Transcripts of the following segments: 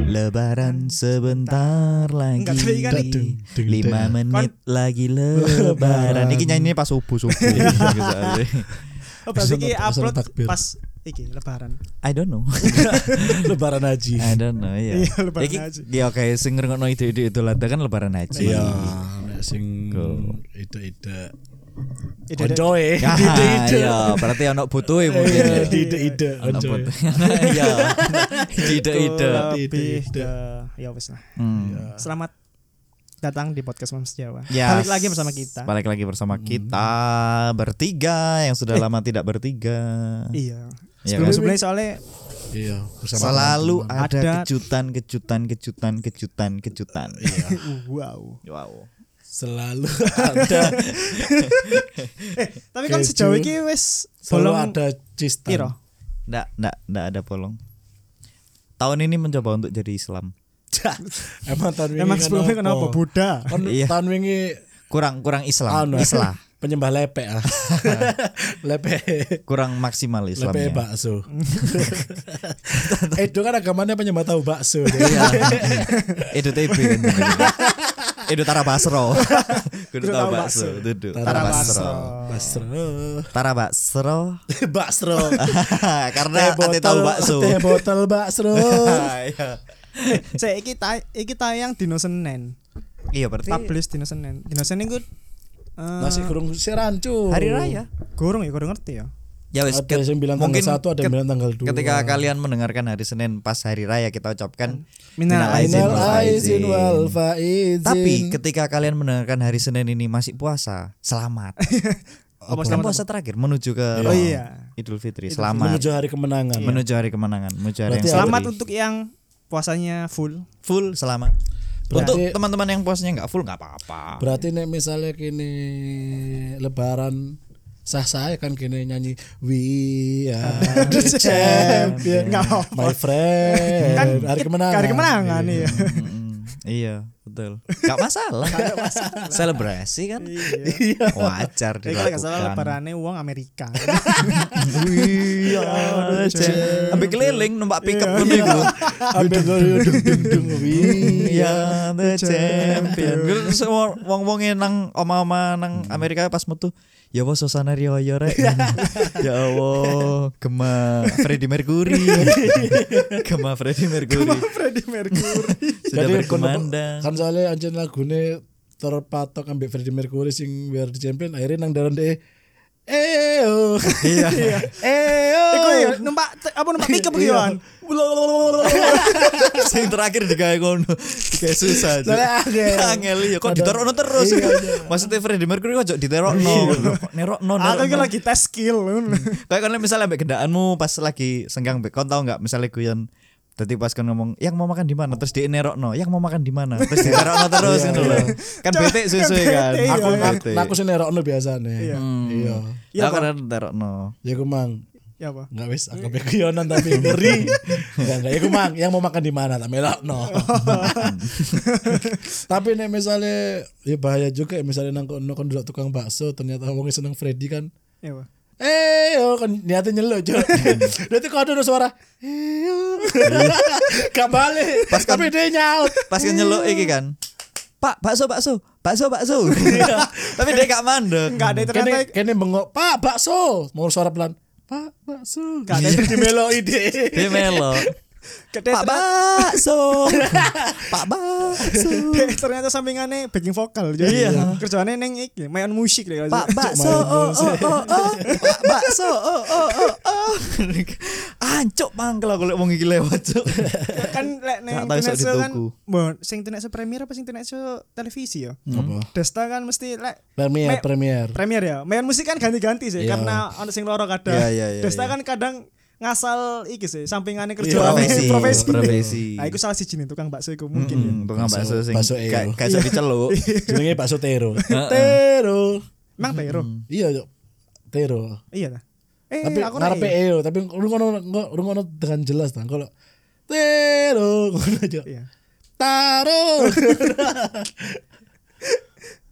Lebaran sebentar lagi. Enggak, tapi kan Dadung, iki- dadung, Lima dadung. menit lagi Lebaran. Iki nyanyi pas subuh subuh. Iya. Iya, gitu Oh, berarti Bisa iki tak- bisa upload takbir. pas iki lebaran. I don't know. Lebaran haji. I don't know ya. Iya, lebaran Iki haji. ya oke sing ngrungokno ide-ide itu lah kan lebaran haji. Iya, nek sing Go. ide-ide Ide- ide- koncoe, Ya, ide-ide. iya, berarti ono Iya, butuhe mungkin. Eh, ya. Ide-ide Ono koncoe. butuh. Iya. Ide-ide. Lebih Ide-ide. ke ya wis lah. Iya. Hmm. Selamat datang di podcast Moms Jawa. Ya, Iya. Balik lagi bersama kita. Balik lagi bersama Hmm. kita bertiga yang sudah lama tidak bertiga. Eh. Iya. Iya Sebelum kan? sebelumnya soalnya Iya, bersama Selalu teman-teman. ada, Ada- kejutan, kejutan, kejutan, kejutan, kejutan. Iya. Ah. wow. wow. selalu ada Tapi kan Keju. sejauh ini wis selalu belum ada cista. piro? Iya. Nggak, nggak, nggak ada bolong. Tahun ini mencoba untuk jadi Islam. Emang tahun wingi Emang sebelumnya kenapa Buddha? Kan Iya. tahun wingi Kurang, kurang Islam. anu, Islam. Penyembah lepek ah. lepek Kurang maksimal lepek Islamnya. bakso. Edo kan agamanya penyembah tahu bakso. Edo TB Iya. kan. Edo Tara Basro. Kudu Kudu tahu tahu bakso. bakso. Dudu. Tara Tara Basro. Basro. Tara Basro. Basro. Karena ate tahu bakso. Teh botol bakso. Ah, iya. Saya iki tay- iki tayang dino Senin. Iya berarti Publish dino Senin. Dino Senin ku eh, Masih kurung serancu. hari raya. gorong ya, gorong ngerti ya. Ya wis Ada yang bilang tanggal satu, ada yang bilang tanggal dua. Ketika kalian mendengarkan hari Senin pas hari raya kita ucapkan Minal minal aidin aidin Ainal wal aizin wal faizin. faizin. Tapi ketika kalian mendengarkan hari Senin ini masih puasa, selamat. Apa Kan Oh, selamat puasa terakhir menuju ke Oh iya. Idul Fitri. Selamat menuju hari kemenangan. menuju hari kemenangan, menuju hari Iya. Berarti yang Selamat putih. untuk yang puasanya full. full selamat. Untuk Berarti- teman-teman yang puasnya nggak full nggak apa-apa. Berarti nek misalnya kini lebaran sah saya kan kini nyanyi we are the champion Nggak apa-apa. my friend Kan Eh, hari kita- kemenangan Kan Hari kemenangan iya. Mm-mm. iya, betul. Gak masalah. Selebrasi kan. Iya. Wajar Jadi kalau nggak salah dilakukan. lebarannya uang Amerika. Iya, Ambil keliling numpak pickup pun ibu. ambil dulu dung dung dung we are Iya, the champion. Hmm. Gue semua wong-wongnya nang oma-oma nang Amerika pas metu. Ya Allah suasana riyo-riyo rek. ya Allah, gema Freddie Mercury. gema Freddie Mercury. Freddie Mercury. Sudah Jadi berkumandang. kan soalnya anjir lagune terpatok ambil Freddie Mercury sing we are the champion akhirnya nang dalan deh eh oh Iya. Iku ya, numpak apa numpak pickup gitu kan. Sing terakhir digawe ngono. Kayak susah. Cuk. Lah, angel. Angel ya kok diterokno terus. Iya, iya. Maksudnya Freddie Mercury kok diterokno. Nerokno. Aku nerokno. iki lagi tes skill. Kayak kan misalnya ambek gendaanmu pas lagi senggang mbek kon tau enggak misalnya guyon tadi pas kan ngomong yang mau makan di mana terus dia nerokno yang mau makan di mana terus dia nerokno terus Iya, gitu iya. loh kan Cok, bete susu kan kan bete, aku iya. aku Nah, aku sing nerokno biasane Iya. iya ya kan nerokno ya ku mang Ya apa? Enggak wis, aku ambek guyonan tapi ngeri. Enggak enggak iku mang, yang mau makan di mana tak melokno. tapi nek misalnya ya bahaya juga ya misalnya nang kono kon duduk tukang bakso ternyata wong seneng Freddy kan. Ya apa? Eh, yo kan niatnya nyeluk Cuk. Hmm. Berarti kau ada suara. Eh, yo. Gak balik. Pas kan- tapi dia nyaut. pas kan nyeluk iki kan Pak, bakso, bakso, bakso, bakso. Tapi dia gak mandek. Enggak ada Eh, ternyata Kene kene bengok, "Pak, bakso." Mau suara pelan. Pak, bakso. Gak ada Terus dimeloi dia. Dia melo. gede Pak ternyata, bakso. Pak bakso. gede ternyata sampingannya backing vokal jadi ya. Iya. kerjaannya neng iki main musik deh Pak bakso. Oh, oh, oh, oh. Pak bakso. Oh, oh, oh, oh. Ancuk mangkel aku lek wong iki lewat, Cuk. kan lek Gak neng tahu iso Tinexo kan dituku. bon sing Tinexo premier apa sing Tinexo televisi ya Apa? Desta kan mesti lek Me- Premier, premier. premier ya main musik kan ganti-ganti sih Iya. karena ono sing loro kadang Iya, iya, iya, iya. Desta kan kadang ngasal iki sih sampingannya kerja Profesi, profesi profesi. nah itu salah siji nih tukang bakso itu mungkin ya. Hmm, tukang bakso sing bakso Iya. gak eo. gak iso diceluk. Jenenge bakso Tero. Tero. emang Tero Iya, Cuk. Tero. iya ta eh Tapi aku ngarepe E. nek- eo, tapi lu ngono lu ngono dengan jelas tang kalau Tero ngono aja. iya Taro.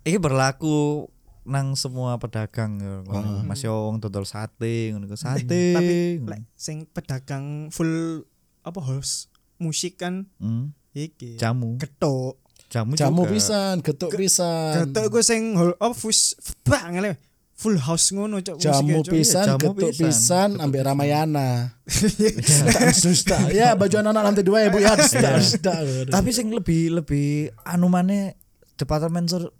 Iki berlaku nang semua pedagang ya. Mas Yong dodol sate ngono iku. sate. Mm. tapi lek sing pedagang full apa host musik kan Hmm. Iki. Jamu. Getuk. Jamu, Jamu juga. pisan, getuk pisan. Getuk gue sing whole of fus- bang ngene. Full house ngono cok. musiknya, Jamu cok. iya, pisan, jamu getuk pisan. pisan, ambek Ramayana. Dusta, dusta. Ya baju anak-anak lantai dua ya bu ya. Dusta, dusta. Tapi sing lebih lebih anu maneh departemen sur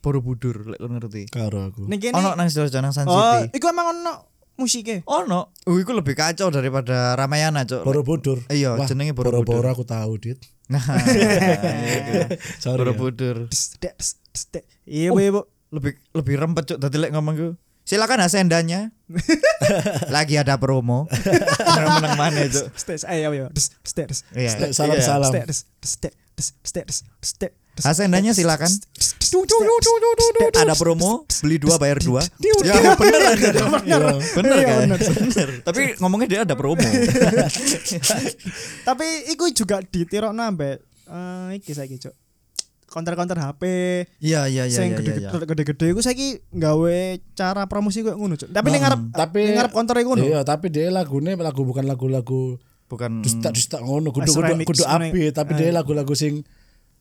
Borobudur lek kono ngerti. Karo aku. Ning kene. Ono nang Sidoarjo nang San Oh, City. iku emang ono musiknya. Ono. Oh, iku lebih kacau daripada Ramayana, Cok. Borobudur. Iya, Wah, jenenge Boro-boro Borobudur. aku tahu, Dit. Nah. Sorry. ya. Borobudur. Psst, dek, psst, psst, dek. Oh. Iya, Bu, iya, Bu. lebih lebih rempet cuk tadi lek ngomong gue silakan asendanya lagi ada promo menang mana cuk Stes, ayo, ayo. Psst, psst, psst. Iya. Stek, Salam-salam. Pstek, des, des, tek, des, pstek, des, pstek, des. Asendanya silakan. Pstek, pstek, pstek, ada promo beli dua bayar dua Diu, ya diu. bener aja Bener. bener Iya, kan bener. tapi ngomongnya dia ada promo Tapi iku juga ditirokno ambek eh, iki saiki, Cuk. Counter-counter HP iya iya iya iya, sing iya, iya. gede-gede gede-gede iku saiki nggawe cara promosi koyo ngono, Cuk. Tapi ning ngarep Hmm, Tapi- ning ngarep counter iku ngono. Iya, tapi dia lagunya lagu bukan lagu-lagu bukan dusta dusta ngono kudu Mas kudu remix kudu ngono ya. api tapi dia lagu-lagu sing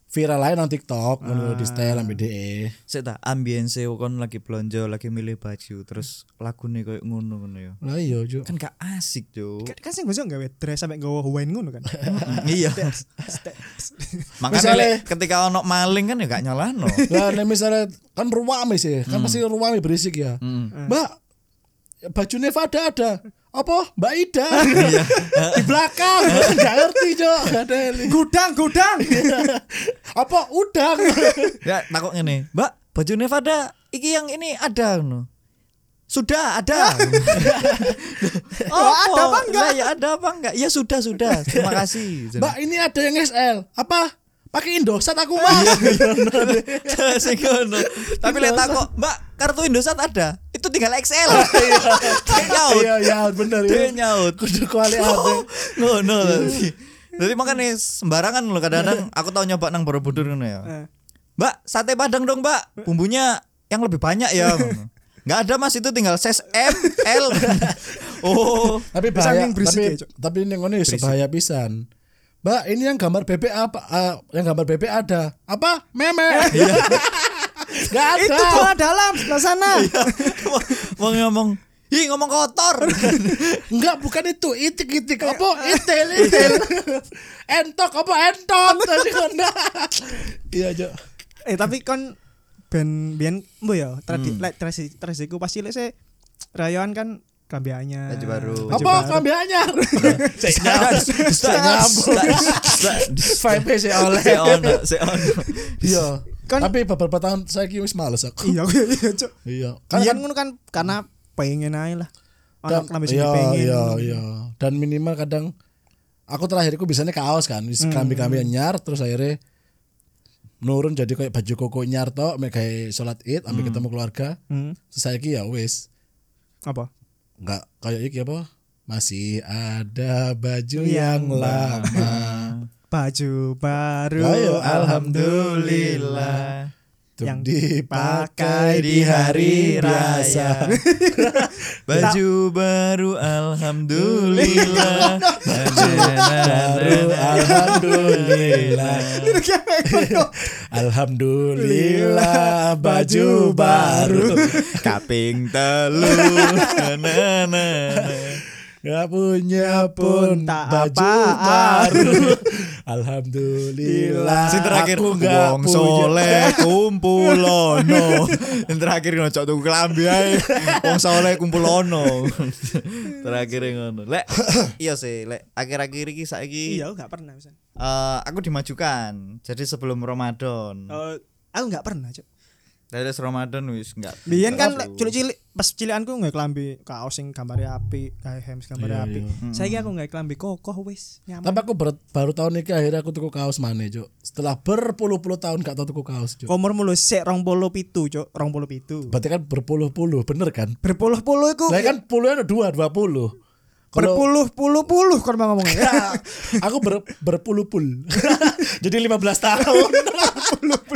viral lain nang TikTok ngono di style ambil DE. saya tak ambience kon lagi belanja lagi milih baju terus lagu nih kayak ngono ngono ya Lah iya, Cuk. kan gak asik cuk Kan- Kan sing bisa nggawe dress sampe nggawa wine ngono kan. iya Stek, stek. makanya Misalnya- lek ketika ono maling kan ya gak nyolano Lah nek misalnya kan ruame sih, kan pasti ruame berisik ya. Mbak baju Nevada ada. Apa? Mbak Ida. di belakang. Enggak ngerti, Cok. Nggak ada yang li- Gudang, gudang. Apa udang? Ya takut ngene. Mbak, baju Nevada iki yang ini ada ngono. Sudah ada. oh, ada apa enggak? Lah, ya ada apa enggak? Ya sudah sudah. Terima kasih. Mbak ini ada yang SL. Apa? Pakai Indosat aku, Mas. Sing ngono. Tapi lihat takut, Mbak, kartu Indosat ada. Itu tinggal XL. Dia nyaut. Iya, iya, bener Dia ya. nyaut. Kudu kuali ate. Ngono. Jadi makanya sembarangan loh kadang-kadang aku tahu nyoba nang Borobudur ngono ya. Eh. Mbak, sate padang dong, Mbak. Bumbunya yang lebih banyak ya. Enggak ada Mas, itu tinggal size M, L. oh. Tapi bahaya, Saking berisik tapi, ya, Cok. tapi ini ngono ya bahaya pisan. Mbak, ini yang gambar bebek apa? eh, yang gambar bebek ada. Apa? Meme. Gak ada. Iya. Itu bola dalam sebelah sana. Mau ngomong, "Ih, ngomong kotor." Enggak, bukan itu. Itik-itik apa? Itil, itil. entok apa? Entok. Tadi kena. Iya, Cok. eh tapi kan ben biyen mbo ya tradi Hmm. lek tradisi tradisiku pasti lek se rayoan kan kambianya Baju baru. Apa kambi anyar? Cek Vibe sih oleh. Se ono, se ono. Iya. Kan- Tapi beberapa tahun saya kira wis males aku. iya iya iya cuk Iya. kan Kan kan ngono kan karena pengen ae lah anak dan, klambi sing iya, pengen iya, iya. Dan minimal kadang aku terakhirku biasanya kaos kan, wis kambi-kambi anyar terus akhirnya nurun jadi kayak baju koko nyar tok, mek gawe salat Id ambil ketemu keluarga. Hmm, Terus saya ki ya wis apa nggak kayak iki apa masih ada baju yang Yang lama baju baru Ayo, Alhamdulillah. untuk Yang dipakai dipakai di hari biasa Baju baru alhamdulillah. baru alhamdulillah Iya, alhamdulillah baju baru Kaping telu. Na, na, na. nggak punya pun Tak baju apaan. baru alhamdulillah Sing terakhir aku nggak wong punya soleh kumpulono. Yang terakhir ngono cok tuku klambi ae. Wong soleh kumpulono. terakhir ngono. Lek iya sih, lek akhir-akhir iki saiki iya aku gak pernah misalnya eh, aku dimajukan. Jadi sebelum Ramadan. Eh, Hmm. aku gak pernah cuk Dari Ramadan wis enggak. Biyen kan lek cilik-cilik pas cilikanku nggak klambi kaos sing gambare api, kayak hems gambare Iya, api. iya. Saiki aku nggak klambi kokoh wis nyaman. tapi aku ber- baru tahun ini akhirnya aku tuku kaos mana Cuk. setelah berpuluh-puluh tahun gak tau tuku kaos Cuk. Komor mulu sik 27, Cuk. 27. Berarti kan berpuluh-puluh, bener kan? Berpuluh-puluh iku. Lah kan puluhnya ada dua, dua puluh. Kalau Iya. Berpuluh-puluh-puluh kon mau ngomongnya. aku ber, berpuluh-pul. Jadi 15 tahun.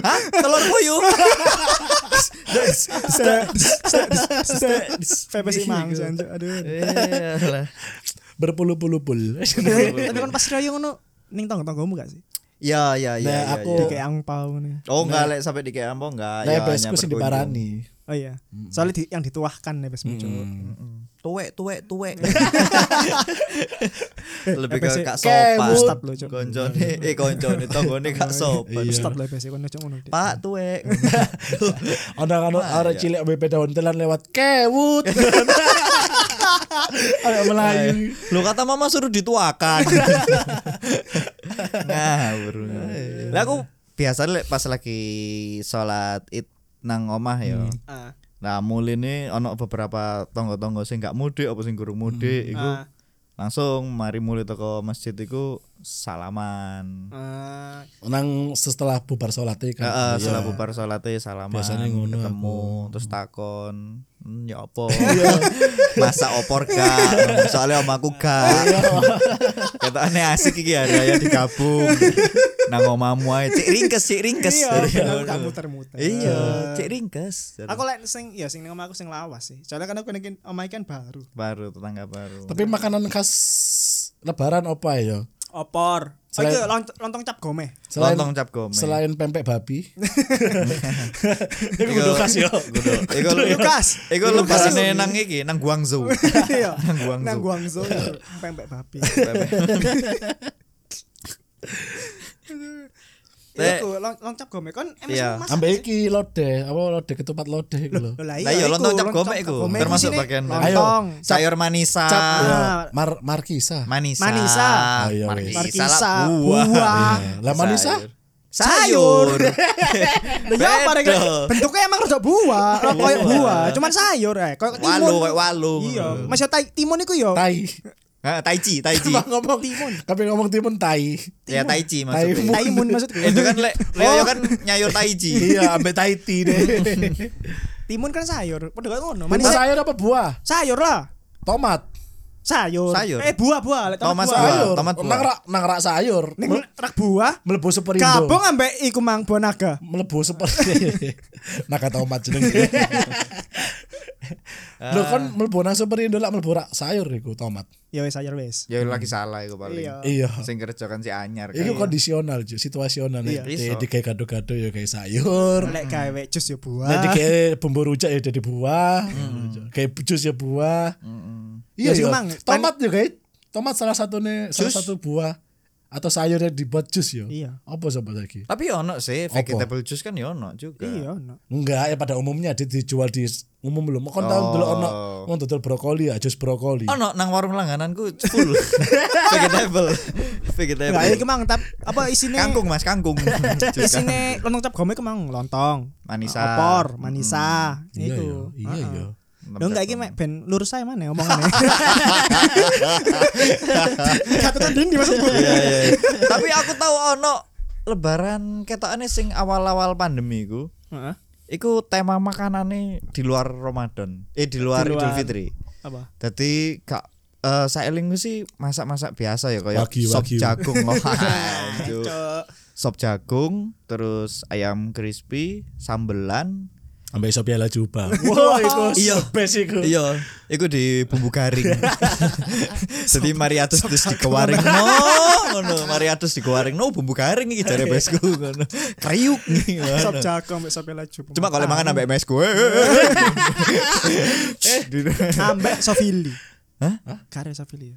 Hah? Telur puyuh. VP sih mangsan, Cuk. Aduh. Iyalah. berpuluh-puluh pul. Nah, Tapi kan pas raya ngono ning tangga-tanggamu gak sih? Ya ya ya. Nah, ya, aku- ya. Di kayak angpau nih. Oh enggak lek sampai di kayak ambo enggak. Nah, ya, besku hanya sing berkunjung. diparani. Oh iya. Soalnya di- yang dituahkan nih besmu cuk. Tuwek tuwek tuwek. Lebih FPC. ke kak Kewut. sopan. Stop lo cuk. Iya. Konjone eh konjone tanggone kak sopan. Iya. Stop lo besmu kono cuk ngono. Dik. Pak tuwek. Ada kan orang cilik BP daun telan lewat kewut. Ada Melayu. Lo Eh, kata mama suruh dituakan. Ngawur. Lah aku biasanya lek pas lagi sholat id nang omah ya. Ah. Nah, mulene ana beberapa tangga-tangga sing gak mudik apa sing gurung mudik iku Ah. langsung mari mulai toko masjid iku salaman. Ah. Nang setelah bubar sholat itu Nah, ya. Heeh, kan. Iya. setelah bubar salate ya salaman. Biasanya ngono ketemu terus takon, "Hmm, ya apa? Masa opor gak? Soalnya omaku gak. Ketaane asik iki ada ya digabung. Nang omamu ae, cik ringkes, cik ringkes. Iya, bener, gak muter-muter. Iya, cik ringkes. Aku lek sing ya sing nang omah aku sing lawas sih. Soalnya kan aku nengin omah kan baru. baru tetangga baru. Tapi makanan khas lebaran apa ya? Opor. Oh Selain- iya, lont- lontong cap gomeh. Selain Lontong cap gome. selain pempek babi. Iku Iku- kudu khas ya. Kudu. Iku Lukas. Iku lebarane nang iki, nang Guangzhou. Iya. Nang Guangzhou. Nang Guangzhou iya. pempek babi. Lek- Iku Iya, lon- lontong cap gomeh kon emang Iya. masak Ambek iki lodeh, apa lodeh ketupat lodeh iku lho. Lah Lah iya, iku, lontong cap gome iku. gomeh Termasuk sini bagian dari- lontong. Sayur manisa. Cap ya, Ah. mar markisa. Manisa. Manisa. Oh, iya, wes. Markisa. Markisa, lah, Buah. buah. Lah manisa? Sayur. Sayur. Lah iya, apa rek? Bedo. Bentuknya emang rada buah, rada koyo Buah. buah, cuman sayur eh, koyo timun. Walu, kayak walu. Iya, masih tai timun iku yo. Tai. Eh, Taichi, Taichi. Bang ngomong timun. Tapi ngomong timun tai. Ya Taichi Taimu. maksudnya. Timun maksudku. Itu kan lek Oh. Leo kan nyayur Taichi. Iya, ambek tai ti deh. Timun kan sayur, padha kaya ngono. Manis Manis sayur apa buah? sayur lah. Tomat. Sayur. Sayur. Eh buah-buah, lek Thomas buah. buah. Sayur. Ah, Oh, tomat buah. Nang rak nang rak sayur. Ning rak buah, Melebu seperindo. gabung ambek iku mang buah naga. melebu seperti naga tomat jeneng lo Ah. kan melebu nang superindo lah melebu rak sayur iku tomat Ya wis sayur wis. Ya lagi salah itu paling. Iya. iya Sing kerja kan si anyar kan. Iku kondisional ju, situasional nek Iya. di di kayak gado-gado ya kayak Hmm. sayur. Lek gawe jus yo Nek di buah. kayak bumbu rujak ya jadi buah. Kayak jus ya buah. Ya, Iya, sih, iya. Mang. Tomat ya kayak tomat salah satunya salah satu buah atau sayur yang dibuat jus ya. Iya. Apa sobat lagi? Tapi ya ono sih vegetable juice kan ya ono juga. Iya, no. Enggak, ya pada umumnya di- dijual di umum belum. Kon tahu dulu ono wong dodol brokoli ya, jus brokoli. Oh no, nang warung langgananku full vegetable, Nah, vegetable. Enggak, iki mang tap apa isine? Ya, Kangkung mas, kangkung. kan. Juga. Isine lontong cap gome kemang lontong. Manisa. Hmm. Opor, manisa. Iya Iku. ya, iya ya. Lo enggak iki mek ben lurus ae mana omongane. Catatan dindi maksudku. Iya, iya, iya. Tapi aku tahu ono Lebaran ketokane sing awal-awal pandemi ku, Heeh. iku tema makanane di luar Ramadan, eh di luar, Di luar. Idul Fitri. Apa? Jadi kak eh saya sih masak-masak biasa ya kayak Wagyu, sop wagyu. jagung Wah, anjuk. Cok. sop jagung terus ayam crispy sambelan Sampai iso piala jubah. Wah, iku Iya. best iku. Iya, iku di bumbu garing. Jadi Mariatus terus dikewaring no, ngono. Mariatus dikewaring no bumbu garing iki jare besku ngono. Kriuk nih, ngono. Sop jago ambek sop laju. Cuma kalau mangan ambek mesku. eh, eh, eh. Di- ambek sofili. Hah? Kare sofili.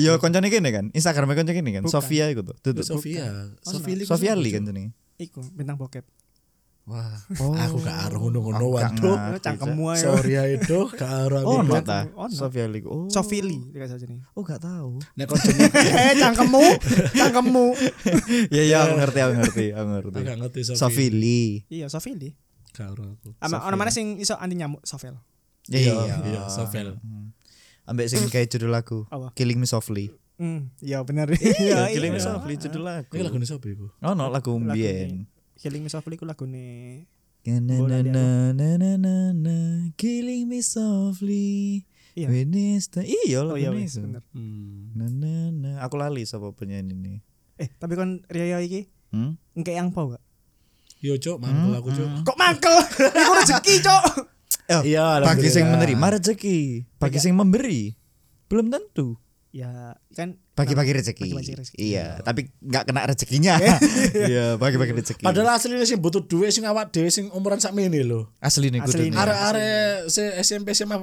Iya, koncone kene kan. Instagramnya koncone kene kan. Bukan. Sofia iku tuh. Tuh, tuh. Sofia, Oh, Sofia Lee. Sofia Li kan jenenge. Iku bintang bokep. Wah, aku gak arep ngono-ngono Aku gak waduh. ngerti, Cangkemmu Cak. ae. Sorry ya itu, gak arep. Oh, aku. no ta. Ono. Sofia Li. Oh. Sofili dekat saja nih. Oh, gak tahu. Nek kon jeneng Eh, cangkemmu, cangkemmu. Iya, iya, aku ngerti, aku ngerti, aku ngerti. Aku gak ngerti Sofia. Sofia Li. Iya, sofili. Gak arep aku. Ama ono mana sing iso anti nyamuk sofel. Iya, iya, Sofia. Ambek sing kayak judul lagu Apa? Killing Me Softly. Hmm, iya bener. Iya, Killing Me iya. Softly judul lagu. Ini lagu sapa iku? Oh no lagu Lagu mbien. Killing Me Softly ku lagune Na na na na na na na Killing Me Softly. Iya. Witness the Iya Oh lagu iya ini. wis bener. Hmm. Na na na aku lali sapa penyanyi ini. Eh, tapi kon Rio iki Hmm? engke yang pau gak? Yo, Cuk, mangkel aku, Cuk. Kok mangkel? Iku rezeki, Cok. Oh, hmm. Iya, bagi alhamdulillah. sing menerima rezeki, bagi sing memberi belum tentu. ya kan Bagi-bagi rezeki. Bagi-bagi rezeki. Iya, tapi nggak kena rezekinya. Iya, bagi-bagi rezeki. Padahal aslinya sih butuh duit sing awak dhewe sing umuran sak mene lho. asli nih Asli kudu. nih. Arek-arek se SMP SMA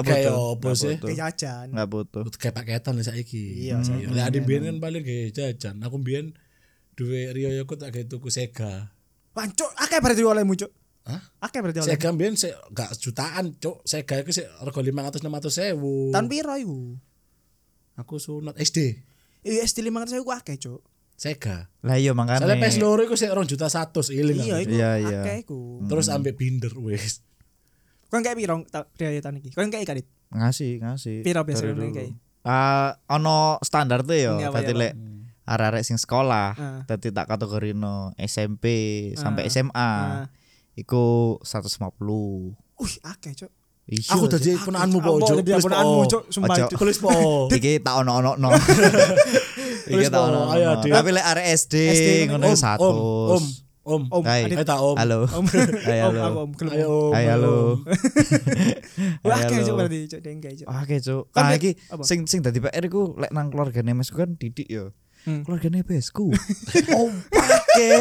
Iya. Nggak kayak butuh, opo nggak sih? butuh. kayak jajan Enggak butuh. Kayak paketan lah saiki. Iya, saiki. Lah ade biyen kan paling kayak jajan. Aku biyen duit Rio aku tak kayak tuku Sega. wancuk akeh berarti olehmu cuk Hah? akeh Iya, berarti oleh Sega biyen se gak jutaan, Cuk. Sega iku sik rego 500 600.000. tahun piro iku Aku sunat SD. iya SD 500 ku akeh cuk Sega. Lah iya makanya. Soalnya PS loro iku sik 2 juta 100 iling. iya aku. iku Iya, iya. akeh iku Terus ambek binder wis. kau kayak piro ta- biaya tahun iki kau kayak kadit ngasih ngasih Piro biasanya Dari lu dulu. kayak? Ah, ono standar tuh yo Iya, apa, tadi iya, lek arek-arek sing sekolah Ah. tadi tak kategorino SMP sampai SMA Ah. iku 150 uh akeh cuk Iya, Cuk. Aku oh, tadi punaanmu po, Ampun, Cuk. dia Please, punaanmu, Po. Cuk. Sumpah, Ojo. Cuk. Tulis po. iki tak ono ono no iki Terus, tak Om, ono ayo, ono Dik. tapi lek arek SD SD, ngono Om, satu Om, Om, Om. Om, Hai. Adit. Ayo tak Om. halo om Hai, om halo. aku om gelem Ayo, om. Om. Hai, halo Hai, Wah, akeh halo. cuk berarti cuk dengke cuk Oke, Cuk. Kan Ah lek- iki apa? sing sing dadi PR iku lek nang keluargane mesku kan Didik ya. Hmm. Keluargane besku. Ompake.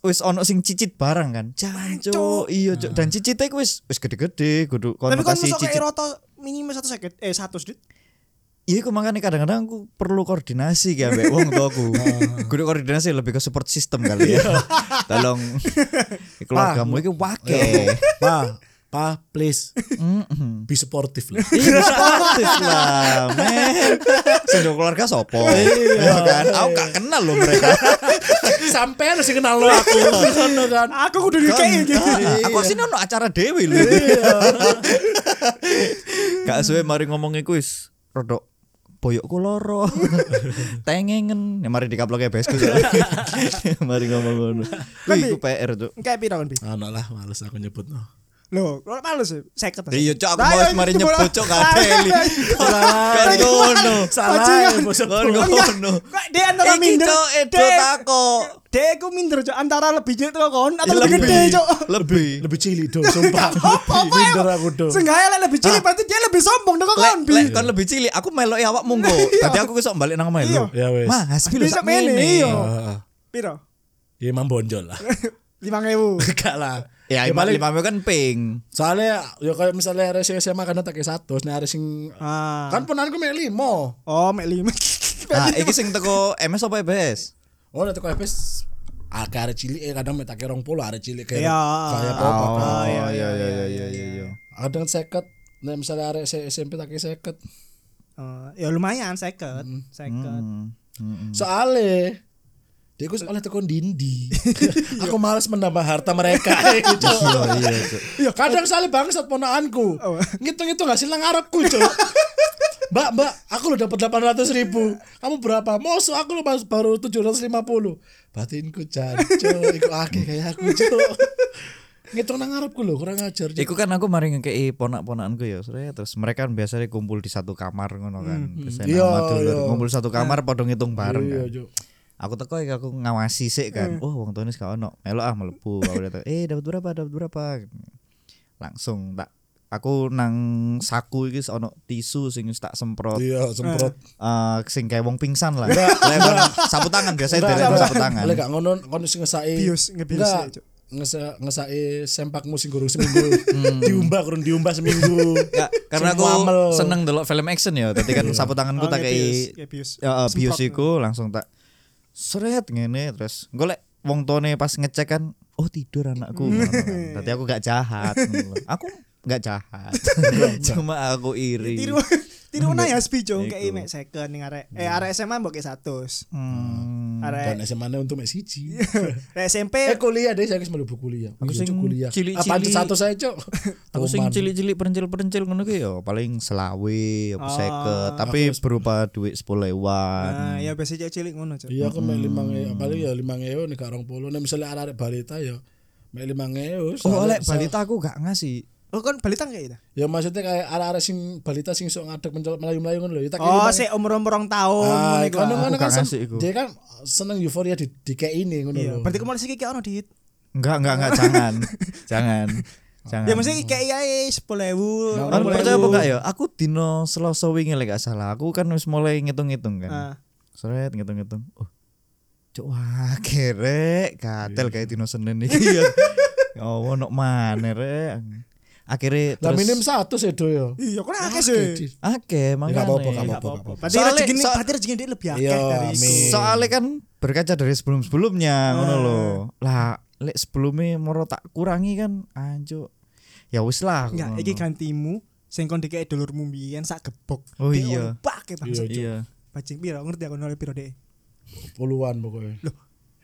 Wis ono sing cicit barang kan. Jancu. Cuk. Iya, Cuk. Dan cicite ku wis wis gede-gede, kudu tapi kan konotasi masuk ke cicit. eroto minimal satu sakit eh satu dit Iya, ku makane kadang-kadang aku perlu koordinasi ki ambek wong tuaku. Ah. Kudu koordinasi lebih ke support system kali ya. Tolong keluargamu iki wake. Eh. Pa, pa, please Mm-mm. be supportive lah. Iya sportif lah men Sendok keluarga sopo Iya kan Aku gak kenal loh mereka Sampai harus kenal lo aku. Ngono kan. Iya. aku kudu dikei gitu Ah, Aku sini ono acara dewi lho Iya. Gak suwe mari ngomong iku wis Rodok boyokku loro tengengen ya mari dikaplok besku mari ngomong ngono kuwi iku PR tuh kayak piro kan bi Ana lah males aku nyebut no. lo lo malu sih sakit iya cok aku mau mari gitu, nyebut cok kateli iya, kan ngono Salah, bos. kan ngono iya. dia antara iki minder cok edo Dek, takok dek aku minder cok antara lebih jelek tuh kon atau Iya, lebih gede cok lebih Lebih cilik do, sumpah. Ya apa apa Minder aku do. Seenggaknya lah lebih cilik berarti dia lebih sombong dong Ah. Lek, kon bi lek kon lebih cilik aku melok awak munggo tadi aku kesok balik nang omah lho Iya, wes. mah hasbi lho Bisa sak Ah. ngene. mene, iya. Heeh. piro Ya emang bonjol lah. lima ribu Enggak lah. ya Ya, imam paling- imamnya kan pink Soalnya ya kayak misalnya arek sing SMA kan tak satu, nek arek sing ah kan punanku mek 5. oh mek lima nah Ah, iki sing teko MS apa EBS Oh, nek teko FPS akeh arek cilik eh, kadang mek tak kira 20 arek cilik kayak Iya. kayak apa oh iya iya iya iya iya iya Kadang 50 nek misalnya arek se- SMP tak kira 50. Eh, ya lumayan seket Hmm. seket Soale dia gue oleh tekun dindi. Aku males menambah harta mereka. eh, gitu. Iya, kadang soalnya bangsat ponaanku. Ngitung-ngitung hasil nang arepku, Cuk. Mbak, mbak, aku lo dapat 800 ribu. Kamu berapa? Moso aku lo baru- baru 750. Batinku jancu, iku akeh kayak aku, Cuk. Ngitung nang arepku lo, kurang ajar, Cuk. Iku kan aku mari ngekei ponak-ponakanku ya, sore terus mereka kan biasanya kumpul di satu kamar ngono kan. Biasanya Iya, nama dulur, iya. kumpul satu kamar padha ngitung bareng kan. Iya, Cuk. aku teko iki aku ngawasi sik Hmm. kan oh wong tuane gak ono melo ah mlebu aku udah tau, eh dapat berapa dapat berapa langsung tak aku nang saku iki ono tisu sing wis tak semprot Iya, semprot. eh sing kayak wong pingsan lah lewat sapu tangan biasanya Enggak, dilewat enggak. sapu tangan Oleh gak ngono kon sing ngesaki. Bius, ngebius Enggak. ya, Cuk. Ngesa- ngesaki sempakmu sing gorong seminggu. diumbah kurang diumbah seminggu. Hmm. Enggak, karena Sing aku Iya. muamel. seneng delok film action ya tadi kan sapu tanganku tak kei Oh, bius ya bius Semprot. iku langsung tak seret ngene terus golek wong tuane pas ngecek kan oh tidur anakku ngono kan. Dadi aku gak jahat ngono. aku gak jahat cuma aku iri tiru tiru nah ya spi Iku. cok kayak mek second ning arek eh arek SMA mbok kayak satu Hmm. Dan arek SMA untuk mek Iya. siji. arek SMP Eh kuliah deh saya mau buku kuliah. Aku Iya, sing Cuk, kuliah. cilik-cilik. Apaan tuh satu saya, Cuk? aku sing Roman. cilik-cilik perencil-perencil ngono ki yo paling selawe apa Ah. seket tapi berupa duit 10 nah ewan ya biasa cek cilik ngono cok Iya aku mek Hmm. 5 paling ya 5.000 nek gak 20. Nek misalnya arek balita ya mek 5.000. oh soalnya- oleh balita aku gak ngasih oh kan balita enggak ya Ya maksudnya kayak arek-arek sing balita sing sok ngadeg mencolok melayu-melayu ngono lho. Ya tak kira oh 5.000. sik umur umur rong Oh, tahun Ah, ngono iku. kan kan Aku kan gak sen- ngasih iku. dia kan seneng euforia di di kayak ini ngono iya lho. berarti kemarin sih kayak ono dit Enggak, enggak, enggak, jangan. jangan. Jangan. Ya mesti kayak iya sepuluh ewu. Nggak Kan Mulai percaya lu. apa enggak ya? Aku dino Selasa wingi lek gak salah. Aku kan wis mulai ngitung-ngitung kan. Nah. Seret ngitung-ngitung. Oh. Cuk wah kerek Iya. katel kayak dino Senin iki ya. Ya Allah nok maneh rek. Akhirnya Lah minim terus satu sih ya. do yo. Iya, kok akeh sih. Jadi, Oke, Nggak makanya Iya. apa-apa, nggak apa-apa, nggak apa-apa. Berarti Soalnya- rezeki so- berarti rezeki dia lebih akeh Iya, dari amin. Ah. iku. Soalnya kan berkaca dari sebelum-sebelumnya ngono lho. Lah lek sebelumnya moro tak kurangi kan anjuk. Ya wis lah. aku Enggak, ngono. iki kan- gantimu sing kon dikek dulurmu mbiyen sak gebok. Oh Dia iya. ono Pake bangsa. Iya. Bajing piro ngerti aku nolih piro dek. puluhan pokoknya. Loh,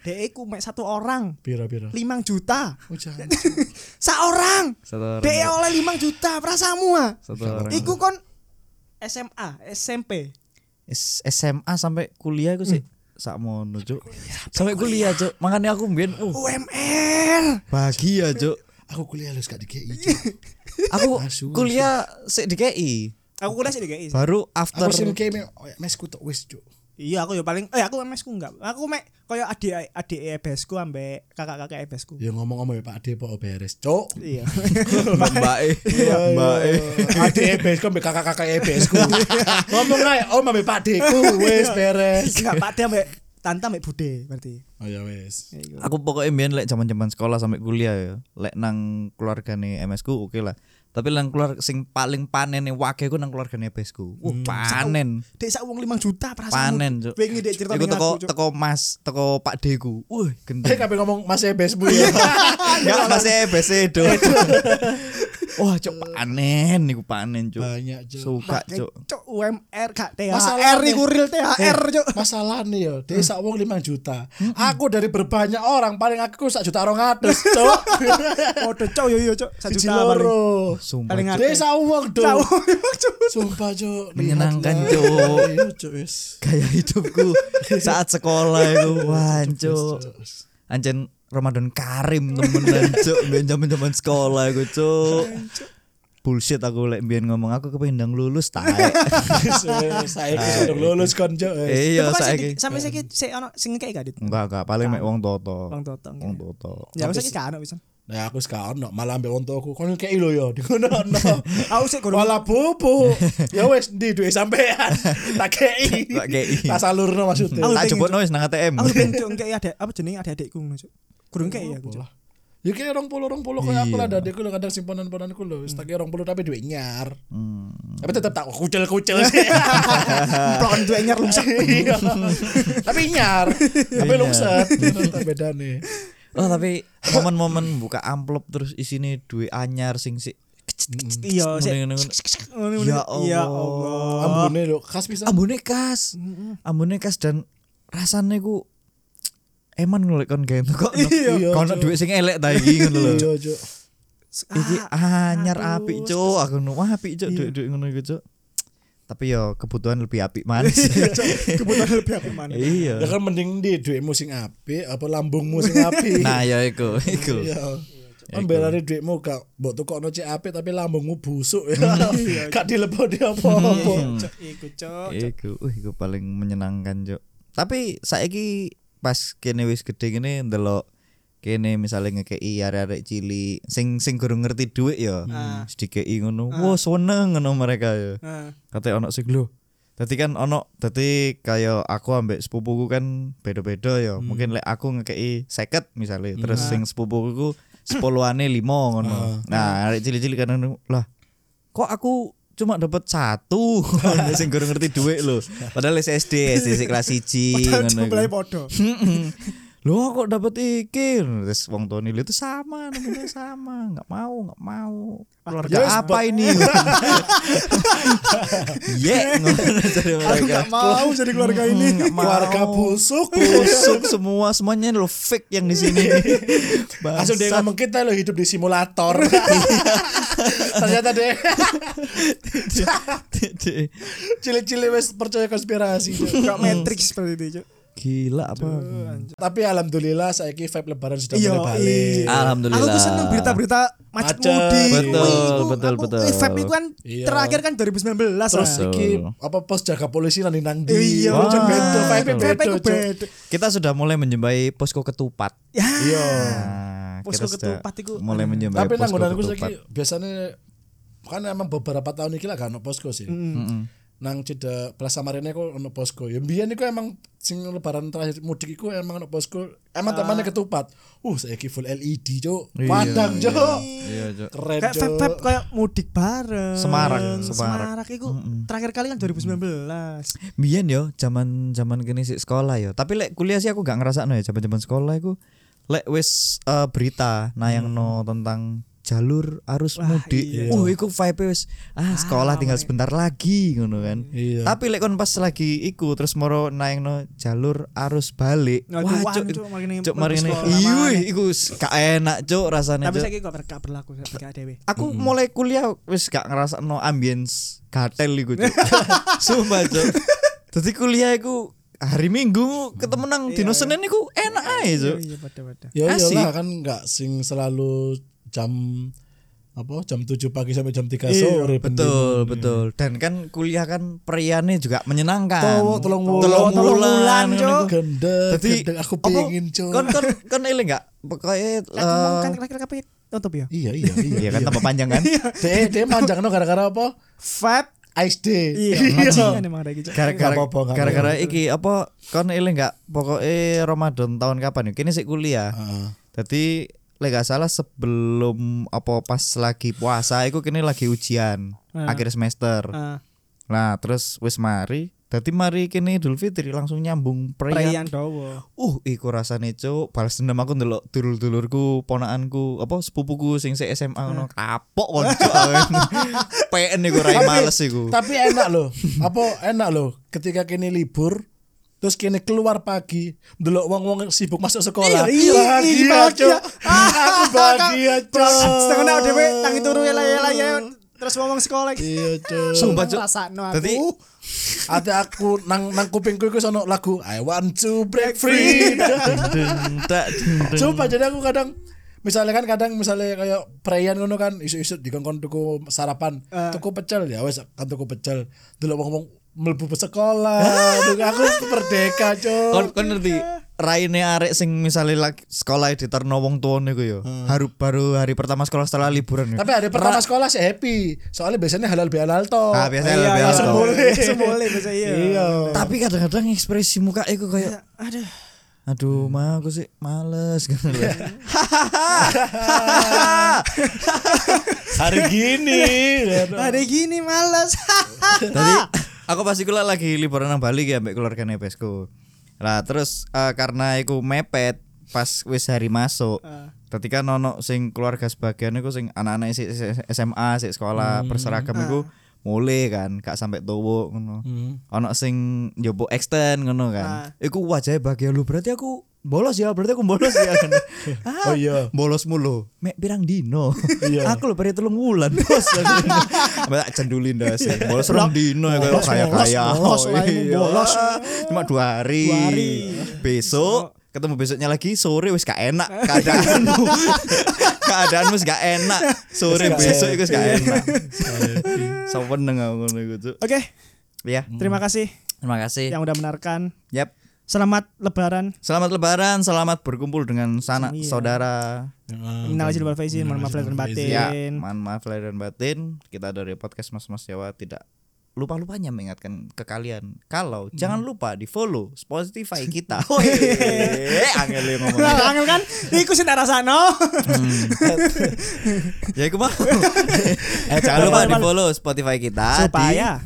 dek iku mek satu orang Pira-pira. 5 juta. Oh, jangan. Sak orang. Satu orang. Dek oleh 5 juta prasamu ah. Satu orang. Iku kon SMA, SMP. S- SMA sampai kuliah aku Hmm. sih sakmono cuk. Sampai kuliah cuk. Makanya aku mbien uh UMR. bahagia cuk. Aku kuliah harus gak dikei. Cuk. Aku Asu, kuliah sik di KI. Aku kuliah sih dikek. Baru after Aku sim kei mesku tok wis cuk. Iya, aku ya paling eh aku MS ku enggak. Aku mek koyo adik adik EBS ku ambek kakak-kakak EBS ku. Ya ngomong-ngomong ya Pak Ade pok beres cuk. Iya. mbake. Mbake. Iya, Ade EBS ku mbek kakak-kakak EBS ku. Ngomong ae om mbek Pak Ade ku wis beres. Enggak Pak Dia ambek tante ambek Bude berarti. Oh ya wis. Aku pokoknya mbien lek zaman-zaman sekolah sampai kuliah ya. Lek nang keluargane MS ku oke lah. Tapi nang keluar sing paling panen yang wakil ku nang keluargane PS ku. Wah, Hmm. panen. Dek sak wong 5 juta prasamu. Panen cuk. Wingi dek cerita Iku ning teko aku, Cuk. teko Mas, teko Pak D ku. Wih, gendeng. E, Eh kabeh ngomong Mas EBS bu ya. Enggak masih EBC do. Wah, cok panen niku panen cok. Banyak, Cuk. Suka Dek, cok. Eh, Cuk UMR kak THR Masalahnya- iku real Eh, THR Eh. cuk. Masalahnya yo, dia ya, sak wong 5 juta. Aku dari berbanyak orang paling aku sak juta 200, cuk. Podo cuk yo yo cuk. Sak Siji juta paling. loro. Sumpah. Paling Dia sak wong Sak dong. wong lima juta. Sumpah cuk. Menyenangkan, Lihat Cuk. lah. Iya, Cuk wis. Gaya hidupku saat sekolah itu wah cok. Cuk. Anjen Ramadan Karim temenan cok ben zaman-zaman sekolah iku cok. Bullshit aku lek mbiyen ngomong aku kepengin ndang lulus tae. Wis, wis. Saiki sudah lulus kon cuk. wis. Eh, Iya Tapi kok saiki. sik- Sampai saiki sik ono sing kayak gak dit. Enggak enggak paling mek wong toto. Wong toto, Wong gitu. toto. Ya wis saiki gak ono wis. Nah aku sekarang ono malah ambek wong tuaku kon kei lho yo dikono-ono. Aku sik kurang Wala bobo. Ya wis ndi duwe sampean. Tak kei. Tak kei. Tak salurno maksudnya. Aku Tak pengen, jebokno wis nang ATM. Aku bencong kayak ada apa jenenge adik-adikku ngono, Cuk. Kurang kayak ya aku. Cuk. Ya kayak orang puluh orang puluh kayak Iya. aku lah ada aku kadang simpanan simpananku loh. Tak kayak orang puluh tapi duit nyar. Hmm. Tapi tetap tak kucel kucel sih. Plon duwe nyer rusak. Iya. tapi nyar. Tapi Iya. lungset. Tetap beda nih. Oh tapi momen-momen buka amplop terus isine duwe anyar sing sik Iya, sik. Ngono-ngono. Ngono-ngono. Ya Ya Allah. Allah. Ambune lo khas bisa. ambune khas ambune khas dan rasane ku eman ngono lek kon gawe entuk kok Iya, kon Cuk. dhuwit sing elek ta iki ngono lho Iya Ah, cuk. iki Ah. anyar aduh. apik cuk aku ngono wah apik cuk dhuwit-dhuwit ngono iku cuk tapi yo kebutuhan lebih apik manis Kebutuhan lebih aku mana? Ya iya kan mending di duitmu sing apik apa lambungmu sing apik. nah ya iku iku Iya. Ambil lari duitmu gak mbok tukokno cek apik tapi lambungmu busuk ya. Gak dilebok di apa-apa. Hmm. Cuk, Iku, Cuk. iku uh, iku paling menyenangkan cuk tapi saiki pas kene wis gede kene ndelok kene misalnya ngekei arek-arek cilik sing sing kurang ngerti dhuwit ya Ah. sedikei ngono wah seneng ngono mereka ya Nah, kata ono sing lho Tadi kan ono tadi kayak aku ambek sepupuku kan beda-beda ya. Mungkin lek aku ngekei seket misalnya, terus sing sepupuku ku sepuluhane limo ngono. Nah, arek cilik-cilik kan ngono, lah kok aku cuma dapat satu Ngono, sing kurang ngerti duit lho. Padahal wis SD, SD sik kelas 1 Iya, ngono. jumlahnya iku. podo. Loh kok dapat iki? Terus wong tuane itu sama, namanya sama. Enggak mau, enggak mau. Keluarga Ya wis, apa ini? Ye, ngono dari Aku mereka. gak mau jadi keluarga ini. Nggak mau. Keluarga busuk. busuk semua, semuanya lo fake yang di sini. Langsung dia Bangsat. ngomong kita lo hidup di simulator. Ternyata deh cile-cile wes percaya konspirasi. Cuk. Hmm. Gak matrix seperti itu, Cuk. Gila apa? Hmm. Tapi alhamdulillah saya vibe lebaran sudah Iya, mulai balik. iya. Alhamdulillah. Aku tuh seneng berita-berita macet Macet. mudik. Betul, Wih, itu betul, aku- betul. eh, vape itu kan Iya. terakhir kan 2019 Terus Betul. iki apa pos jaga polisi nanti nang di. ah. Iya, Wah, Cuk, bedo, vibe betul. bedo, Vape itu Cuk. beda. Kita sudah mulai menjumpai posko ketupat. Ya. Iya. Nah, sudah Posko ketupat iku. mulai menyembah Tapi nang posko nggonanku ketupat. saiki biasane kan emang beberapa tahun iki lah gak ono posko sih. Mm-mm. Nang cedek Plaza Marina iku ono posko. Ya mbiyen iku emang sing lebaran terakhir mudik iku emang ono posko. Emang Ah. temannya ketupat. Uh saiki full LED, Cuk. Iya, Padang, iya. Cuk. Iya, Cuk. Keren, kayak Cuk. vape kayak mudik bareng Semarang, Semarang. Semarang, itu terakhir kali kan 2019 Biyen yo zaman zaman kene sik sekolah yo. Tapi lek kuliah sih aku gak ngerasakno ya zaman-zaman sekolah iku lek wis eh, berita nayangno tentang jalur arus Hmm. Wah, mudik. iya. Oh, iku vibe wis ah sekolah tinggal sebentar lagi ngono kan. Iya. Tapi lek kon pas lagi iku terus moro nayangno jalur arus balik. Aduh, wah, cuk, cuk, marine cuk mlebu marine. sekolah maneh. Iya, iku wis gak enak cuk rasane tapi cuk. saya kok gak berlaku gak ada Aku mulai kuliah wis gak ngerasa no ambience gatel iku cuk. Sumpah cuk. Dadi kuliah iku hari Minggu ketemu nang Iya, dino Senin iku enak ae cuk. iya pada pada Ya Asik. iyalah kan nggak sing selalu jam apa jam 7 pagi sampai jam 3 Iya, Iya, sore Betul, betul. Dan kan kuliah kan periannya juga menyenangkan. Tolong tolong wulan. Telung Telung wulan, wulan, ngono Cuk. iku. gendeng Dadi, gendeng aku apa, pengen Cuk. Kon kon kon eling gak? Pokoke eh, kan terakhir kapan tutup ya Iya iya iya. Iya kan tambah panjang kan? Dek dek manjang no gara-gara apa? vape Ice day. iya kan emang ada gitu gara-gara Gak apa-apa, gak gara-gara iki apa kon eling gak pokoknya Ramadan tahun kapan ya? Kini sik kuliah. Heeh. Jadi lek gak salah sebelum apa pas lagi puasa iku kini lagi ujian Ah. akhir semester. Ah, Nah, terus wis mari. Dadi mari kini Idul Fitri langsung nyambung perayaan perayaan. dowo Uh, iku rasane cuk, balas dendam aku ndelok dulur-dulurku, ponakanku, apa sepupuku sing se SMA ngono Ah. kapok kon cuk. PN iku rai Tapi- males iku. Tapi enak loh. Apa enak loh ketika kini libur terus kini keluar pagi delok wong-wong sibuk masuk sekolah. Iya, iya, bahagia, iya, bahagia. Cuk. Aku bahagia, Cuk. setengah udah dewe tangi turu ya ya ya terus ngomong sekolah Iya, Cuk. Sumpah cuk. rasakno aku. Dadi Ada aku nang nang kupingku iku sono lagu I want to break free. tak Sumpah jadi aku kadang misalnya kan kadang misalnya kayak perayaan ngono kan isu-isu di kongkong tuku sarapan, tuku pecel ya wes kan tuku pecel. Dulu ngomong mlebu sekolah, Aduh, aku merdeka, kon Cuk. kon ngerti raine arek sing misalnya lagi sekolah di terno wong tuane ku yo. Haru baru hari pertama sekolah setelah liburan. ya. yo. Hmm. Tapi hari pertama sekolah sih happy. Soalnya biasanya halal bihalal toh. Ah, biasanya halal Iya, bihalal langsung toh. mulai. semule bisa iya Iya. Tapi kadang-kadang ekspresi muka aku kayak aduh Iya. aduh ma aku sih males gitu loh. Hari gini. ada gini males Tadi aku pasti kula lagi liburan nang Bali ya ambek keluarga nepesku. Lah terus eh, karena aku mepet pas wis hari masuk. Ketika nono sing keluarga sebagian iku sing anak-anak si, si- SMA, sik sekolah berseragam iku mulai kan, gak sampai tuwo ngono. Ono sing njopo extend ngono kan. Iku wajahnya bahagia lu berarti aku bolos ya, berarti aku bolos ya. kan. Ah, Oh iya. bolos mulu mek pirang dino Iya. aku lho pare telung wulan bos mbak tak cendulin dah sih bolos rong dino ya kayak Bolos, kaya kaya bolos, bolos, lain bolos. cuma dua hari Dua hari. besok ketemu besoknya lagi sore wis gak enak keadaanmu keadaanmu wis gak enak sore Wis gak besok itu wis gak enak. enak Iya. sawen neng aku ngono iku Cuk. oke ya terima kasih terima kasih yang udah menarikan yep selamat lebaran selamat lebaran selamat berkumpul dengan sanak Iya. saudara Hmm, Minal aidin wal faizin, mohon maaf lahir dan Ya, batin. mohon maaf lahir dan batin. Kita dari podcast Mas Mas Jawa tidak lupa-lupanya mengingatkan ke kalian kalau Hmm. jangan lupa di follow Spotify kita. Weh, angel ya ngomongnya. Lah, Angel kan, iku sing tak rasakno. Ya iku mau. Eh, jangan lupa di follow Spotify kita. Supaya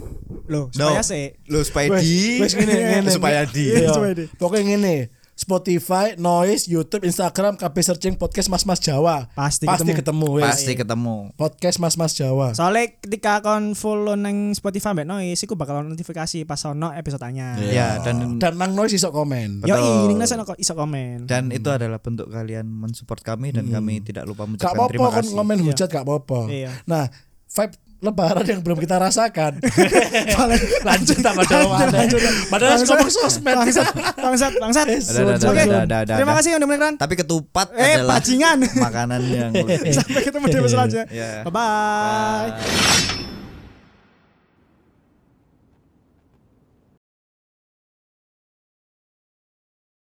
lo di... No. supaya sih. Lo supaya Wes, di wes ngene, ngene. supaya di. Iya. Supaya di. Pokoknya ngene. Spotify, Noise, YouTube, Instagram, KB searching podcast Mas Mas Jawa. Pasti ketemu. wes. iya. Pasti ketemu. Podcast Mas Mas Jawa. Soalnya ketika kon follow neng Spotify mbak Noise, iku bakal ono notifikasi pas ono episode tanya. Ya, dan Dan nang Noise iso komen. Yo Betul. ini nasi kok iso komen. dan itu adalah bentuk kalian mensupport kami dan kami Hmm. tidak lupa Gak mengucapkan apa-apa terima kan kasih. ngomen hujat gak apa-apa. Iya. Nah, vibe lebaran yang belum kita rasakan. lanjut sama doa. Padahal ngomong sosmed. Bangsat, bangsat, bangsat. Ada, ada, ada, Oke. ada, ada, ada, Terima ada. kasih udah mendengarkan. Tapi ketupat Eh, adalah bajingan. makanan yang Ya. lebih Sampai ketemu di episode selanjutnya. Iya. Bye bye. Bye.